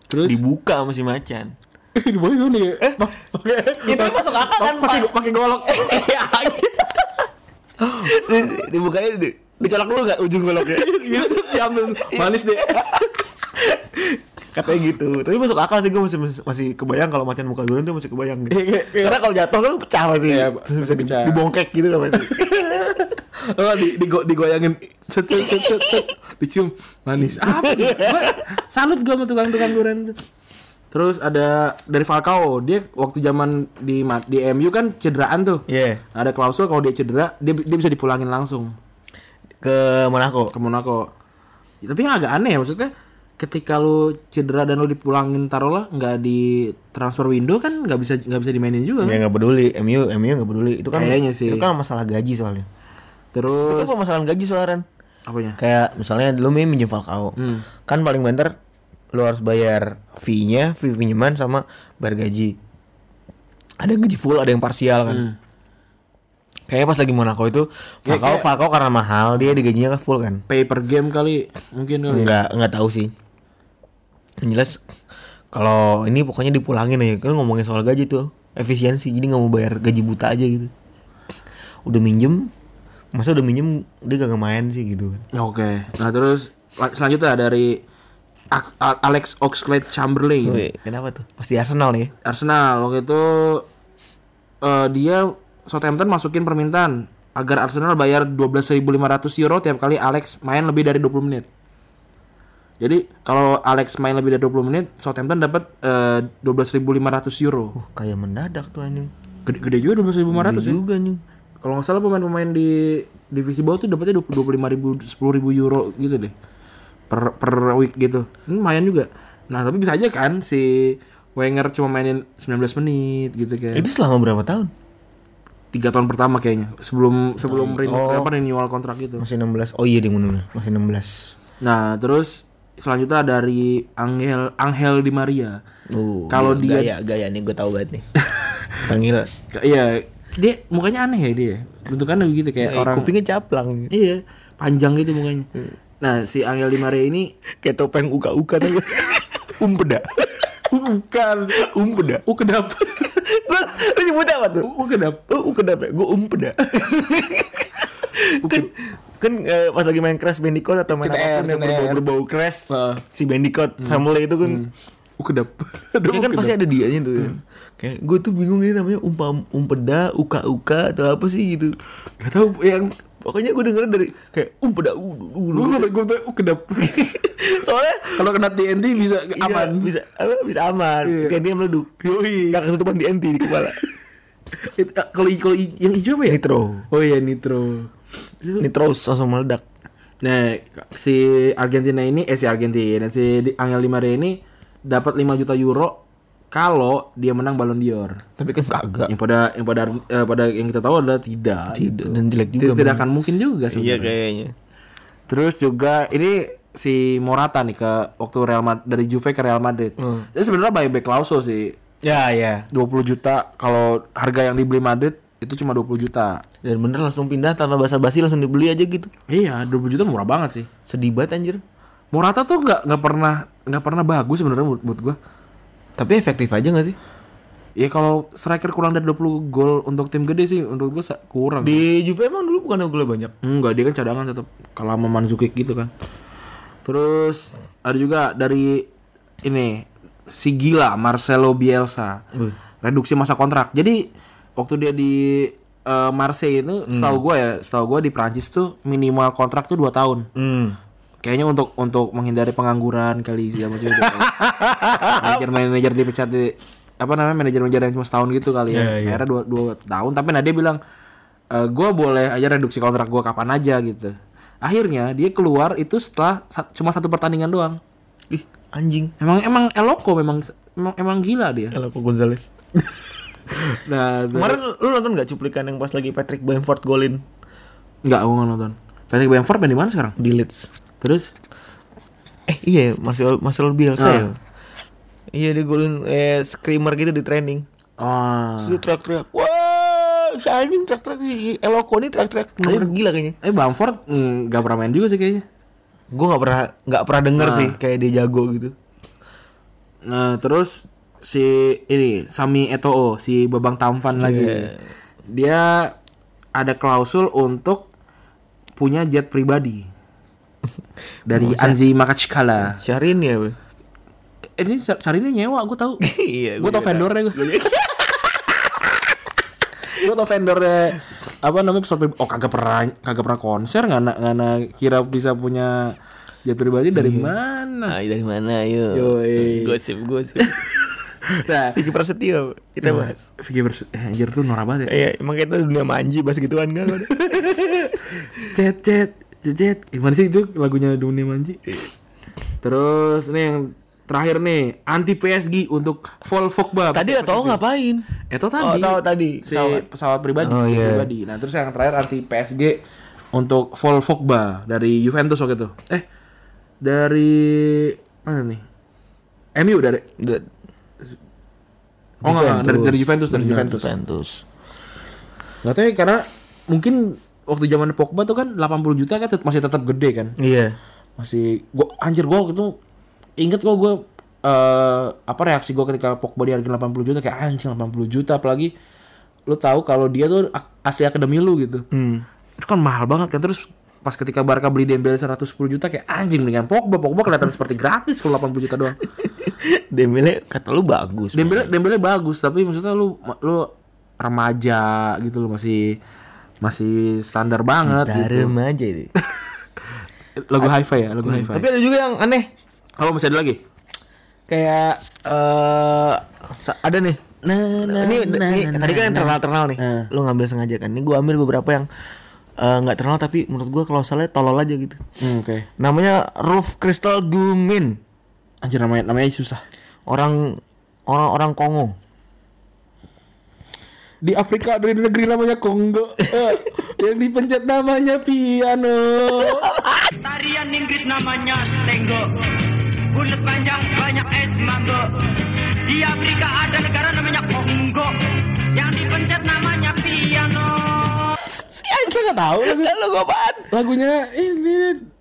S3: Terus
S2: Dibuka sama si macan.
S3: di bawah itu nih. Eh,
S2: Itu masuk akal kan,
S3: pakai
S2: Pak? Iya, gitu.
S3: pakai golok.
S2: Terus dibukanya di, dicolok dulu gak ujung goloknya
S3: Gitu set, diambil manis deh.
S2: katanya gitu tapi masuk akal sih gue masih masih kebayang kalau macan muka durian tuh masih kebayang gitu
S3: Iya, iya, iya.
S2: karena kalau jatuh kan pecah pasti
S3: Iya,
S2: terus bisa di-
S3: pecah.
S2: dibongkek gitu kan pasti
S3: Oh, di, digo, digoyangin set set set set, set. dicium manis Ah, apa sih? Gua- salut gua sama tukang-tukang durian itu terus ada dari Falcao dia waktu zaman di Ma- di MU kan cederaan tuh
S2: Iya.
S3: ada klausul kalau dia cedera dia, dia bisa dipulangin langsung
S2: ke Monaco
S3: ke Monaco tapi yang agak aneh ya maksudnya ketika lu cedera dan lu dipulangin taruhlah nggak di transfer window kan nggak bisa nggak bisa dimainin juga kan?
S2: ya nggak peduli MU MU nggak peduli itu kan
S3: Kayaknya sih.
S2: itu kan masalah gaji soalnya itu
S3: terus
S2: kan permasalahan gaji soalnya Ren.
S3: apanya
S2: kayak misalnya lu min- minjem Falcao kan paling banter lu harus bayar fee-nya fee pinjaman sama bayar gaji ada yang gaji full ada yang parsial kan kayaknya pas lagi Monaco itu Falcao Falcao karena mahal dia digajinya kan full kan
S3: pay per game kali mungkin kali
S2: nggak nggak tahu sih yang jelas kalau ini pokoknya dipulangin aja kan ngomongin soal gaji tuh efisiensi jadi nggak mau bayar gaji buta aja gitu udah minjem masa udah minjem dia kagak main sih gitu kan
S3: Oke. Nah terus la- selanjutnya dari A- A- Alex Oxlade Chamberlain
S2: Wih, kenapa tuh? Pasti Arsenal nih.
S3: Arsenal waktu itu eh, dia Southampton masukin permintaan agar Arsenal bayar 12.500 euro tiap kali Alex main lebih dari 20 menit. Jadi kalau Alex main lebih dari 20 menit, Southampton dapat eh, 12.500 euro.
S2: Uh, kayak mendadak tuh anjing.
S3: Gede, gede juga
S2: Gede
S3: 12.500 ya.
S2: juga anjing.
S3: Kalau nggak salah pemain-pemain di divisi bawah tuh dapatnya 25 ribu, 10 ribu euro gitu deh per per week gitu. Ini lumayan juga. Nah tapi bisa aja kan si Wenger cuma mainin 19 menit gitu kayak
S2: Itu selama berapa tahun?
S3: tiga tahun pertama kayaknya sebelum sebelum renew-
S2: Oh.
S3: apa, renewal kontrak gitu.
S2: Masih 16. Oh iya dia bener Masih 16.
S3: Nah terus selanjutnya dari Angel Angel Di Maria.
S2: Uh,
S3: Kalau dia-
S2: gaya, gaya nih gue tahu banget nih. Eh, Tengil.
S3: K- Iya dia mukanya aneh ya dia bentukannya begitu kayak orang
S2: kupingnya caplang.
S3: iya panjang gitu mukanya. Nah si Angel Di Maria ini
S2: Kayak topeng uka-uka tuh. Umpeda.
S3: bukan
S2: Umpeda.
S3: Ukedap.
S2: Gue lu nyebut apa tuh?
S3: Ukedap.
S2: Oh, ukedap ya? Gue umpeda. kan kan eh, pas lagi main Crash Bandicoot atau main
S3: CTR,
S2: apapun yang berbau,
S3: CTR.
S2: berbau Crash
S3: Heeh.
S2: si Bandicoot family itu kan
S3: Ukedap.
S2: Dia kan pasti ada dianya tuh. Kayak gue tuh bingung ini namanya umpam umpeda, uka-uka atau apa sih gitu.
S3: Gak tau yang
S2: Pokoknya gue denger dari kayak umpeda ulu ulu.
S3: gue gue gue ukedap.
S2: Soalnya
S3: Kalau kena TNT bisa
S2: iya,
S3: aman.
S2: bisa apa, bisa aman.
S3: Iya.
S2: TNT yang meleduk. Yoi. Gak kesutupan TNT di kepala.
S3: Eh, Kalau i- kalau i- yang hijau apa ya?
S2: Nitro.
S3: Oh iya nitro.
S2: Nitro langsung meledak.
S3: Nah si Argentina ini eh si Argentina si Di- Angel Di Maria ini dapat 5 juta euro kalau dia menang Ballon d'Or.
S2: Tapi kan kagak.
S3: Yang pada yang pada eh, pada yang kita tahu adalah tidak.
S2: Tidak dan jelek juga.
S3: Tidak, tidak akan mungkin juga
S2: Iya
S3: sebenarnya.
S2: kayaknya.
S3: Terus juga ini si Morata nih ke waktu Real Madrid dari Juve ke Real Madrid. Ini sebenarnya buyback klausul sih.
S2: Ya ya.
S3: 20 juta kalau harga yang dibeli Madrid itu cuma 20 juta.
S2: Dan bener langsung pindah tanpa basa-basi langsung dibeli aja gitu.
S3: Iya, 20 juta murah banget sih.
S2: Sedih banget anjir.
S3: Morata tuh nggak nggak pernah nggak pernah bagus sebenarnya menurut, menurut gua.
S2: Tapi efektif aja gak sih?
S3: Ya kalau striker kurang dari 20 gol untuk tim gede sih menurut gua sa- kurang.
S2: Di Juve emang dulu bukan golnya banyak.
S3: Enggak, dia kan cadangan tetap kalah sama Mandzukic gitu kan. Terus ada juga dari ini si gila Marcelo Bielsa.
S2: Wih.
S3: Reduksi masa kontrak. Jadi waktu dia di eh, Marseille itu setahu gua ya, setahu gua di Prancis tuh minimal kontrak tuh 2 tahun.
S2: Hmm.
S3: Kayaknya untuk untuk menghindari pengangguran kali segala macam itu. Manajer-manajer dipecat di apa namanya manajer-manajer yang cuma setahun gitu kali ya.
S2: Iya, iya.
S3: Akhirnya dua, dua tahun. Tapi nah dia bilang "Eh, gua boleh aja reduksi kontrak gua kapan aja gitu. Akhirnya dia keluar itu setelah sa- cuma satu pertandingan doang.
S2: Ih, anjing.
S3: Emang emang eloko memang emang, emang gila dia.
S2: Eloko Gonzales.
S3: Nah,
S2: Kemarin lu nonton gak cuplikan yang pas lagi Patrick Bamford golin
S3: enggak gua nggak nonton. Patrick Bamford main di mana sekarang?
S2: di Leeds?
S3: Terus
S2: Eh iya, Marcel Marcel Bielsa
S3: Ah.
S2: ya. Iya dia golin eh screamer gitu di training.
S3: ah
S2: Terus dia teriak-teriak. Wah, si anjing teriak-teriak si Eloko ini teriak-teriak. Bener gila kayaknya.
S3: eh Bamford mm, nggak pernah main juga sih kayaknya.
S2: Gue nggak pernah nggak pernah denger sih kayak dia jago gitu.
S3: Nah, terus si ini Sami Eto'o, si Babang Tampan lagi. Dia ada klausul untuk punya jet pribadi dari Anzi Makachkala.
S2: Syahrini ya, Be?
S3: Eh, Ini Sar- Sarini nyewa, gue tahu.
S2: Iya,
S3: gue tau vendornya gue. gue tau vendornya apa namanya pesawat pribadi. Oh kagak pernah kagak pernah konser nggak na- nggak na- kira bisa punya jet pribadi dari mana?
S2: Nah, dari mana ayo?
S3: Yoi.
S2: Gosip, gosip.
S3: Nah,
S2: Vicky Prasetyo kita bahas.
S3: Vicky Bers- eh, anjir tuh norak banget ya.
S2: Nah. Iya, emang kita dunia manji bahas gituan kan?
S3: cet cet cet cet gimana sih itu lagunya Dunia Manji terus nih yang terakhir nih anti PSG untuk Paul Pogba
S2: Tadi gak tau ngapain?
S3: itu tadi
S2: Oh, tahu tadi.
S3: si
S2: Pesawat.
S3: pesawat, pribadi
S2: Oh, iya.
S3: pribadi nah terus yang terakhir anti PSG untuk Paul Pogba dari Juventus waktu itu eh dari mana nih MU dari
S2: Da-
S3: oh enggak, enggak, dari, dari Juventus dari
S2: Bener,
S3: Juventus nggak tahu ya karena mungkin waktu zaman Pogba tuh kan 80 juta kan tet- masih tetap gede kan
S2: Iya.
S3: masih gua anjir gua waktu itu inget gua gua eh, apa reaksi gua ketika Pogba di harga 80 juta kayak anjing 80 juta apalagi lu tahu kalau dia tuh ak- asli akademi lu gitu itu kan mahal banget kan terus pas ketika Barca beli Dembele 110 juta kayak anjing dengan Pogba Pogba kelihatan seperti gratis kalau 80 juta doang
S2: Dembele kata lu bagus.
S3: Dembele Dembele bagus tapi maksudnya lu lu remaja gitu lu masih masih standar banget gitu.
S2: Darem aja itu.
S3: Lagu hi-fi ya, lagu hi-fi.
S2: Hmm, Tapi ada juga yang aneh.
S3: kalau masih ada lagi?
S2: Kayak eh sa- ada nih. ini, ini tadi kan yang terkenal-terkenal nih.
S3: Eh.
S2: Lu ngambil sengaja kan. Ini gua ambil beberapa yang eh, nggak terkenal tapi menurut gua kalau salah tolol aja gitu.
S3: Hmm, oke.
S2: Namanya Rolf Crystal Gumin.
S3: Anjir namanya namanya susah.
S2: Orang orang-orang Kongo.
S3: Di Afrika dari negeri namanya Kongo. Eh, yang dipencet namanya piano.
S4: Tarian Inggris namanya Stengo Bulat panjang banyak es manggo Di Afrika ada negara namanya Kongo Yang dipencet namanya piano
S3: Si anjir enggak tahu lagu. Lalu Lagunya ini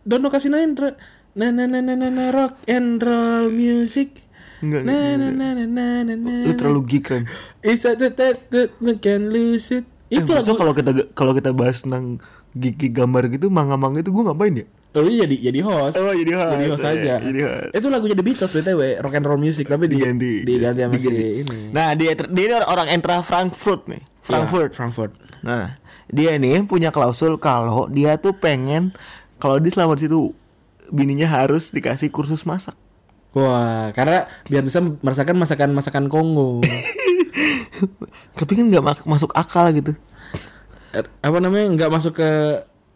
S3: Dono Kasinandra. Na na na na na na rock and roll music.
S2: Enggak,
S3: Na na na na na na na.
S2: Lu terlalu geek kan.
S3: It's a test that we can lose it.
S2: Eh,
S3: Itu
S2: masa
S3: lagu.
S2: kalau kita kalau kita bahas tentang gigi gambar gitu, manga-manga itu gua ngapain ya?
S3: Tapi jadi jadi host.
S2: Oh, jadi host.
S3: Jadi host
S2: Iya,
S3: aja.
S2: jadi host.
S3: Itu lagunya The Beatles BTW, rock and roll music tapi di-
S2: Diganti.
S3: Diganti sama si
S2: Diganti.
S3: ini.
S2: Nah, dia ter- dia ini orang- orang entra Frankfurt nih. Frankfurt.
S3: Ya, Frankfurt.
S2: Nah, dia nih punya klausul kalau dia tuh pengen kalau dia selama di situ bininya harus dikasih kursus masak.
S3: Wah, karena biar bisa merasakan masakan-masakan Kongo.
S2: Tapi kan nggak mak- masuk akal gitu.
S3: Er, apa namanya? nggak masuk ke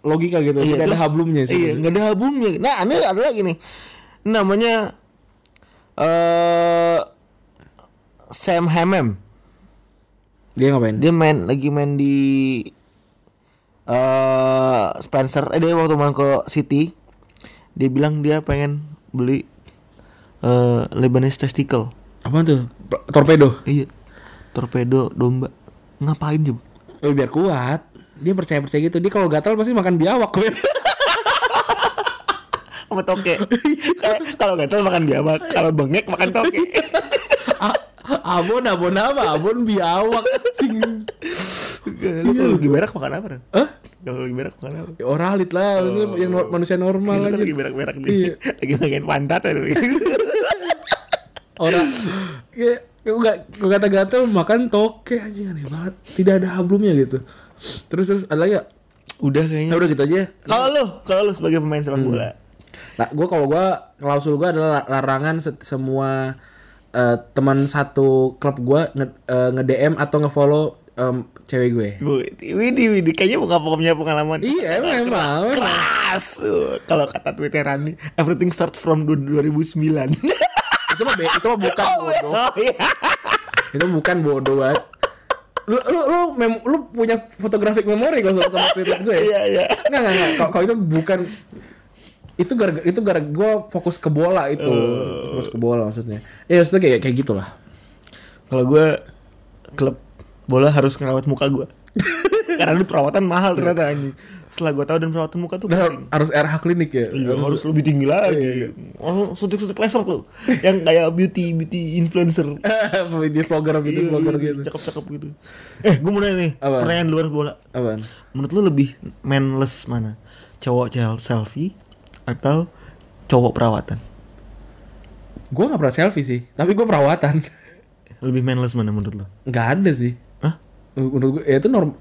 S3: logika gitu. Tidak ada
S2: Iya, terus-
S3: hablumnya sih.
S2: Iya, nggak ada albumnya. Nah, ini ada lagi nih. Namanya eh Sam Hammam
S3: Dia ngapain?
S2: dia main lagi main di eh Spencer eh dia waktu main ke City dia bilang dia pengen beli eh Lebanese testicle
S3: Apa tuh? P- Torpedo.
S2: iya torpedo domba ngapain coba
S3: Eh, biar kuat. Dia percaya percaya gitu. Dia kalau gatal pasti makan biawak gue.
S2: sama toke Kayak kalau gatel makan biawak kalau bengek makan toke
S3: A- abon abon apa? Abon biawak. Cing.
S2: lu kalau lagi berak makan apa Ren?
S3: Hah?
S2: kalau lagi berak makan apa
S3: Ya, Oralit lah, maksudnya yang nor- manusia
S2: Lu kan
S3: normal aja.
S2: lagi berak-berak
S3: Iya.
S2: nih lagi makan pantat ya lu.
S3: Orang ya gue gak gue kata gatel makan toke aja aneh banget. Tidak ada hablumnya gitu. Terus terus ada lagi gak?
S2: udah
S3: Ya
S2: kayaknya
S3: udah Hmm. gitu aja.
S2: kalau lu kalau lu sebagai pemain sepak bola
S3: Nah, gue kalau gue klausul gue adalah la- larangan set- semua eh, teman satu klub gue nge, eh, nge-DM atau nge-follow em, cewek gue.
S2: Bu, Widi, Widi, kayaknya nggak punya pengalaman.
S3: Iya, memang. memang.
S2: Keras. Uh, Kalau kata Twitteran nih, everything start from du- 2009.
S3: itu mah be- itu mah bukan bodoh.
S2: oh iya.
S3: Itu bukan bodoh banget. Lu lu lu, mem- lu punya fotografik memori kalau sama, sama Twitter gue. ya?
S2: Iya, iya.
S3: Enggak, enggak, enggak. Kalau- Kalau itu bukan itu gara itu gara gue fokus ke bola itu.
S2: Oh.
S3: Fokus ke bola maksudnya. Ya, maksudnya kayak kayak gitulah.
S2: Kalau gue klub bola harus ngerawat muka gue. Karena itu perawatan mahal ternyata anjing. Setelah gue tahu dan perawatan muka tuh penting.
S3: Dan harus RH klinik ya.
S2: Nah, Iya, harus lebih tinggi lagi. Oh, suntik-suntik laser tuh. Yang kayak beauty beauty influencer.
S3: video vlogger video
S2: Iya,
S3: vlogger
S2: iya,
S3: gitu
S2: Cakep-cakep gitu. Eh, gue mau nanya nih,
S3: Apa?
S2: pertanyaan luar bola.
S3: apaan
S2: Menurut lu lebih manless mana? Cowok cel selfie atau cowok perawatan?
S3: gue nggak pernah selfie sih tapi gue perawatan
S2: Lebih manless mana menurut lu?
S3: nggak ada sih
S2: Hah?
S3: menurut gue ya itu norm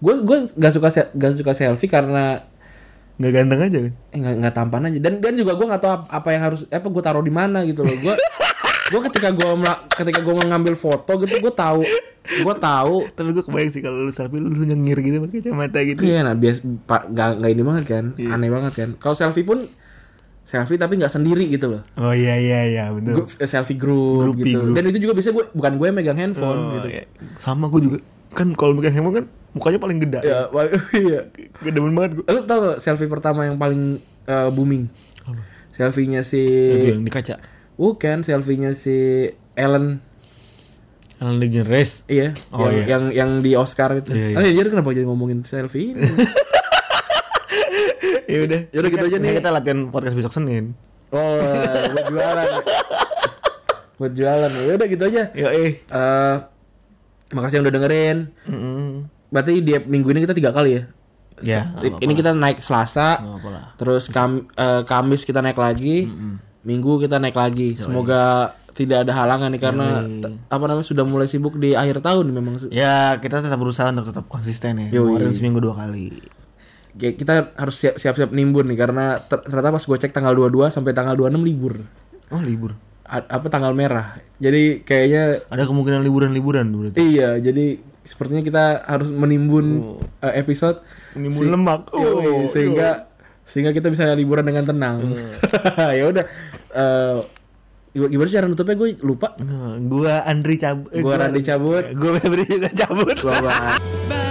S3: gue gue nggak suka se- nggak suka selfie karena
S2: Nggak ganteng aja kan?
S3: eh, nggak nggak tampan aja dan dan juga gue nggak tahu ap- apa yang harus apa gue taruh di mana gitu loh gue gue ketika gue ketika gue ngambil foto gitu gue tahu gue tahu
S2: Tapi gue kebayang sih kalau lu selfie lu, lu nyengir gitu pakai kacamata gitu.
S3: Iya, nah bias pa- nggak nggak ini banget kan,
S2: Iya.
S3: aneh banget kan. Kalau selfie pun selfie tapi nggak sendiri gitu loh.
S2: Oh iya iya iya betul.
S3: Grup, selfie group
S2: Grupi,
S3: gitu.
S2: grup.
S3: Dan itu juga bisa gue bukan gue yang megang handphone
S2: Oh,
S3: gitu.
S2: iya. Sama gue juga kan kalau megang handphone kan mukanya paling gede.
S3: Ya, wal- iya.
S2: Gede banget gue.
S3: Lu tau gak selfie pertama yang paling eh, booming?
S2: Apa?
S3: Selfie-nya si
S2: Itu yang di kaca.
S3: bukan selfie-nya si Ellen
S2: Alan Race.
S3: iya
S2: Oh,
S3: yang,
S2: iya.
S3: yang yang di Oscar itu.
S2: Iya, iya.
S3: Ah, jadi kenapa jadi ngomongin selfie? ini?
S2: Ya udah.
S3: Yaudah, gitu aja nih.
S2: Kita latihan podcast besok Senin.
S3: oh, buat jualan. buat jualan. Ya udah gitu aja.
S2: Yo eh.
S3: eh makasih yang udah dengerin. Berarti di minggu ini kita tiga kali ya.
S2: Ya.
S3: I- ini kita naik Selasa, terus Kam- eh, Kamis kita naik lagi, Minggu kita naik lagi. Semoga tidak ada halangan nih karena t- apa namanya sudah mulai sibuk di akhir tahun memang.
S2: Ya kita tetap berusaha untuk tetap konsisten ya.
S3: Yoi.
S2: Kemarin seminggu dua kali.
S3: Kayak Kita harus siap- siap-siap nimbun nih karena ter- ternyata pas gue cek tanggal 22 sampai tanggal 26 libur.
S2: Oh libur.
S3: A- apa tanggal merah. Jadi kayaknya
S2: Ada kemungkinan liburan-liburan berarti.
S3: iya, jadi sepertinya kita harus menimbun eh, episode
S2: Menimbun lemak.
S3: Yoi,
S2: Oh,
S3: sehingga sehingga kita bisa liburan dengan tenang. ya udah. Eh, gimana gimana sih cara nutupnya gue lupa.
S2: Nah, gua Andri cabut.
S3: Gua Randy cabut.
S2: Gua Febri juga cabut.
S3: Gua bahas.
S6: Bye.